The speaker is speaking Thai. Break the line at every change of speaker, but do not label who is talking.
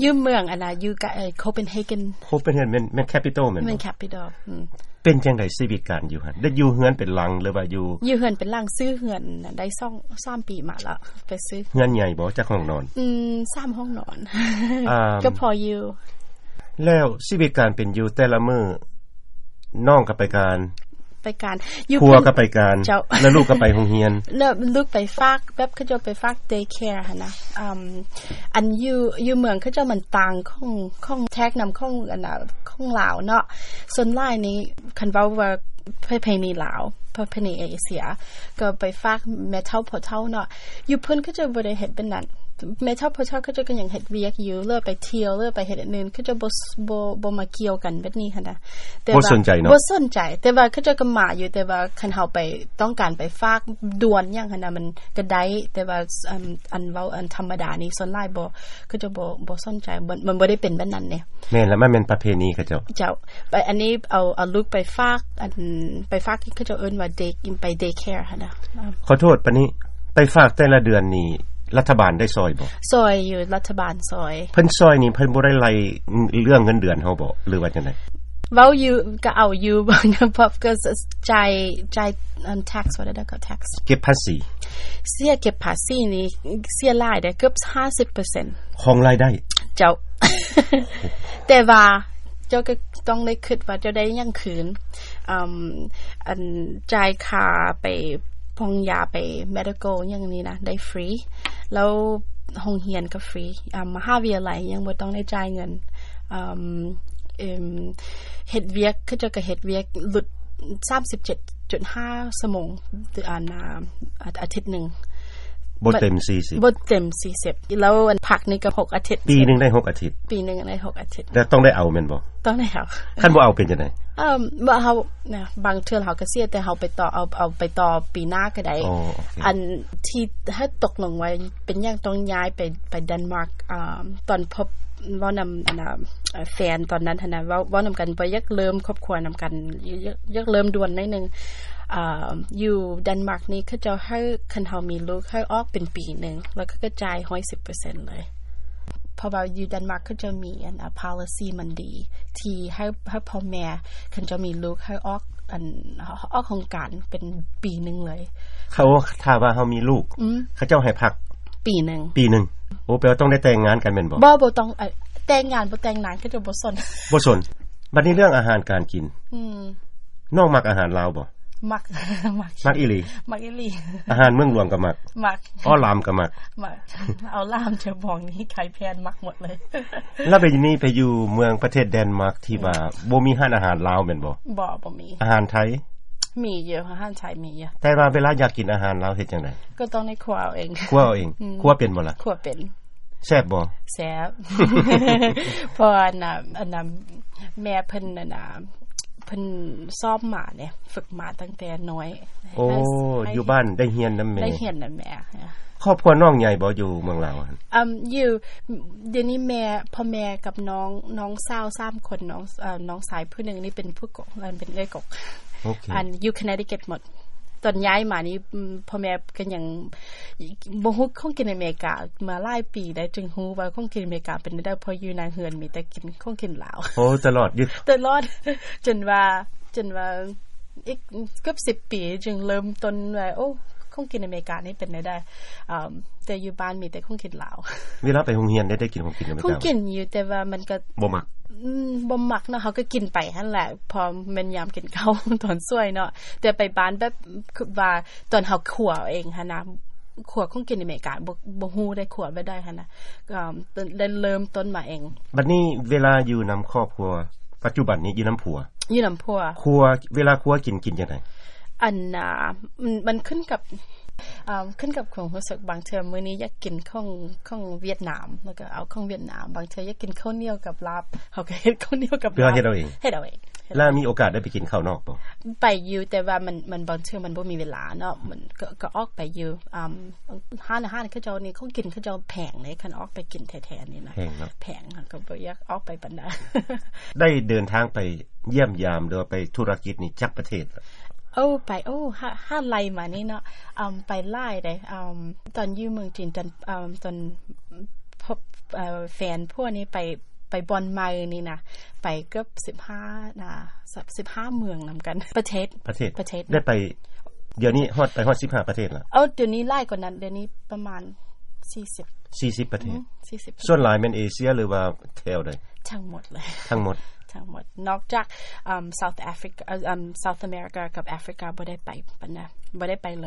อยู่เมืองอันน่ะอยู่กับโคเปนเฮเกน
โคเปนเฮเกนมันมันแคปิตอลแม่น
มัน
บ่
แคปิตอลอืม
เป็นจังได๋ชีวิตการอยู่หั่นได้อยู่เฮือนเป็นหลังหรือว่าอยู่
อยู่เฮือนเป็นหลังซื้อเฮือนน่ะได้สองสามปีมาแล้วไปซื้อ
เฮือนใหญ่บ่จักห้องนอน
อืมสามห้องนอน
อ่า
ก็พออยู่
แล้วชีวิตการเป็นอยู่แต่ละมื้อน้องก็ไปการ
ไปการอยู่
ครัว
เพิ่น
ก็ไปการ
เจ้า
แล้วลูกก็ไปโรงเรียน
เลิกลูกไปฝากแบบเขาเจะไปฝากเดย์แคร์หั่นนะอืมอันอยู่อยู่เมืองเขาเจะมันต่างของของแท็กนำของอันน่ะของลาวเนาะส่วนหลายนี้คันเว้าว่าประเพณีลาวประเพณีเอเชีย ก็ไปฝากแม่เฒ่าพ่อเฒ่าเนาะอยู่เพิ่นก็จะบ่ได้เฮ็ดเป็นนั้นแม่เฒ่าพ่อเฒ่าเขาเจะก็ยังเฮ็ดเวียกอยู่เลิกไปเที่ยวเลิกไปเฮ็ดอันอื่นเขาเจะบ่สบ่บ่มาเกี่ยวกันแบบนี้หั่นนะแต่
บ่
ว่า
สนใจเนาะ
สนใจแต่ว่าเขาเจะก็มาอยู่แต่ว่าคันเฮาไปต้องการไปฝากด่วนอย่างหั่นน่ะมันก็ได้แต่ว่าอันอันเว้าอันธรรมดานี่ส่วนหลายบ่เขาเจะบ่บ่สนใจบ่มันบ่ได้เป็นแบบนั้นเนี่ย
แม่นแล้วมันเป็นประเพณีเขาเจ้า
เจ้าไปอันนี้เอาเอาลูกไปฝากอันไปฝากเขาเจะเอิ้นว่า day ไป day care หั่นน่ะอ่า
ขอโทษปะนี้ไปฝากแต่ละเดือนนี่รัฐบาลได้ซอยบ่
ซอยอยู่รัฐบาลซอย
เพิ่นซอยนี่เพิ่นบ่ได้ไล่เรื่องเงินเดือนเฮาบ่หรือว่าจังได๋
เว้าอยู่ก็เอาอยู่ บ่นะเพราะก็จ่ายจ่ายอัน tax ว่าได้ก็ tax
เก็บภาษี
เสียเก็บภาษีนี่เสียหลายได้เกือบ50%
ของรายได้
เจ้า แต่ว่าเจ้าก็ต้องได้คิดว่าเจ้าได้ยังคืนอืมอันจ่ายค่าไปพงยาไป medical อย่างนี้นะ ได้ฟรี แล้วโรงเรียนก็ฟรีอ่ามหาวิทยาลัยยังบ่ต้องได้จ่ายเงินอืมเอิ่มเฮ็ดเวียกคือเจ้าก็เฮ็ดเวียกหลุด 37.5ชั่วโมงอ่านาอาทิตย์หนึง
บ่เต็ม40
บ่เต็ม 40 แล้วอันพักนี่ก็หกอาทิตย์
ปีหนึงได้หกอาทิตย์
ปีหนึ่งในหกอาทิตย์
แต่ต้องได้เอาแม่นบ่
ต้องได้เอา
คันบ่เอาเป็นจังได๋
เอ่อบ่เฮานะบางเทื่อเฮาก็เสียแต่เฮาไปต่อเอาเอาไปต่อปีหน้าก็ได้
อ๋อโอเค
อันที่ถ้าตกลงไว้เป็นอย่างต้องย้ายไปไปเดนมาร์กอ่าตอนพบเว้านำอันน่ะเอ่อแฟนตอนนั้นหันน่ะเว้าเว้านำกันไปยักเริ่มครอบครัวนำกันยักยักเริ่มด่วนหนิดนึงอ่าอยู่เดนมาร์กนี่เขาเจะให้คันเฮามีลูกให้ออกเป็นปีหนึงแล้วก็กระจาย110%เลย เพราะว่าอยู่เดนมาร์กเขาจะมีอันอ่ะ policy มันดี ที่ให้ให้พ่อแม่คันจะมีลูกให้ออกอันออกโครงการเป็นปีหนึงเลย
เขาถ้าว่าเฮามีลูก
อืม
เขาเจ้าให้พัก
ปีหนึ่ง
ปีหนึงโอ้แปลว่าต้องได้แต่งงานกันแม่นบ่
บ่บ่ต้องเอ่อแต่งงานบ่แต่งนานก็จะบ่สน
บ่สนบัดนี้เรื่องอาหารการกิน
อืม
น้องมักอาหารลาวบ่
มัก มัก
มักอีหลี
มักอีหลี
อาหารเมืองหลวงก็มัก
มัก
อ้อลามก็มัก
มัก เอาล่ามจะบอกนี้ใครแพนมักหมดเลย
แล้วไปนี่ไปอยู่เมืองประเทศเดนมาร์กที่ว่าบ่มีร้านอาหารลาวแม่นบ่
บ่บ่มี
อาหารไทย
มีเยอะห้านชายมีเยอะ
แต่ว่าเวลาอยากกินอาหารเราวเฮ็ดจังได๋
ก็ต้องในครัวเอาเอง
คั่วเอาเองคั่วเป็นบ่ล่ะ
ครัวเป็น
แซ่บบ่
แซ่บ เพราะอันน่ะอันน่ะแม่เพิ่นน่ะน่ะเพิ่นซ้อมหมาเนี่ย ฝึกหมาตั้งแต่น้อย
โอ้
ให้ให้
อยู่บ้านได้เฮียนนำแม่
ได้เห็นน่ะแม่
ครอบครัวน้องใหญ่บ่อยู่เมืองลาวหั่น
อืมอยู่เดี๋ยวนี้แม่พ่อแม่กับน้องน้องสาวสามคนน้องเอ่อน้องสายผู้หนึ่งนี่เป็นผู้กกอันเป็นเอ้ยกก
โอเค
อันอยู่แคนาดิเกตหมด ตอนย้ายมานี่อืมพ่อแม่ก็ยังบ่ฮู้ของกินอเมริกามาหลายปีได้วจึงฮู้ว่าของกินอเมริกาเป็นได้เพออยู่ในเฮือนมีแต่กินของกินลาว
โอ้ตลอดอยู่
ตลอด จนว่าจนว่าอีกเกือบ10 ปี จึงเริ่มต้นว่าโอ้คงกินอเมริกานี่เป็นได้ได้อ่าแต่อยู่บ้านมีแต่คงกินลาว
เวลาไปโรงเรียนได้ได้กินของกินไหม
คง
เจ้า
กินอยู่แต่ว่ามันก็
บ่มัก
อืมบ่มักเนาะเขาก็กินไปหั่นแหละ พอแมันยามกินข้าว ตอนซวยเนาะแต่ไปบ้านแบบคือว่าตอนเฮาขัวเองหั่นนะขัวคงกินอเมริกาบ่บ่ฮู้ได้ขัวบ่ได้หั่นนะก็เริ่มเริ่มต้นมาเอง
บัดนี้เวลาอยู่นำครอบครัว ปัจจุบันนี้อยู่นำผัว
อยู่นำพัว
ครัวเวลาครัวกินกินจังได๋
อันน่ะมันมันขึ้นกับอ่าขึ้นกับของรู้สึกบางเทื่อมื้อนี้อยากกินของของเวียดนาม แล้วก็เอาของเวียดนาม บางเทื่ออยากกินข้าวเหนียวกับลาบเขาก็เฮ็ดข้าวเหนียวกับ
เพื่
ลา
อบ เฮ็ดเอาเอง
เฮ็ดเอาเองเฮ็ด
แล้วมีโอกาสได้ไปกินข้าวนอกบ่
ไปอยู่แต่ว่ามันมันบางเทื่อมันบ่มีเวลาเนาะมันก็ก็ออกไปอยู่อ่าห้านอาหารเขาเจ้านี่ของกินเขาเจ้าแพงเลยคันออกไปกินแท้ๆนี่นะ
แพงเนาะ
แพงค่ะก็บ่อยากออกไปปานใด
ได้เดินทางไปเยี่ยมยามหรือว่าไปธุรกิจนี่จักประเทศละ
โอ้ไปโอ้ห้าห้าไลมานี่เนาะอืมไปไล่ได้อืมตอนอยู่เมืองจีนตอนอืมตอนพ พบเอ่อแฟนพวกนี้ไปไปบอลไมล์นี่นะไปเกือบสิบห้านะสิบห้าเมืองนำกัน ประเทศ
ประเทศ
ประเทศ
ได้ไป เดี๋ยวนี้ฮอดไปฮอด15 ประเทศละ
เอาเดี๋ยวนี้ไล่กว่านั้น เดี๋ยวนี้ประมาณสี่สิบ
40 ประเทศ
สี่สิบ
ส่วนหลายแม่นเอเชียหรือว่าแถวใด
ทั้งหมด เลย
ทั้งหมด
ทั้งหมด นอกจากอืม South Africa เอ่ออืม South America กับ Africa บ่ได้ไปปะนะบ่ได้ไปเลย